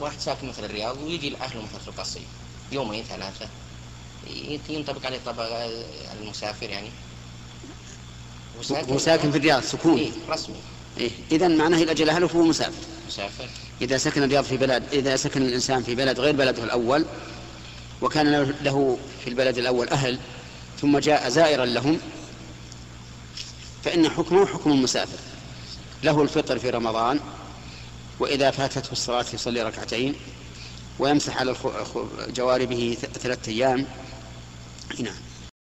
واحد ساكن مثل الرياض ويجي لاهله مثل القصيم يومين ثلاثه ينطبق عليه طبق المسافر يعني وساكن في الرياض سكون إيه رسمي إيه؟ إذا معناه إلى أجل أهله فهو مسافر مسافر إذا سكن الرياض في بلد إذا سكن الإنسان في بلد غير بلده الأول وكان له في البلد الأول أهل ثم جاء زائرا لهم فإن حكمه حكم المسافر له الفطر في رمضان وإذا فاتته الصلاة يصلي ركعتين ويمسح على الخ- خ- جواربه ث- ثلاثة أيام نعم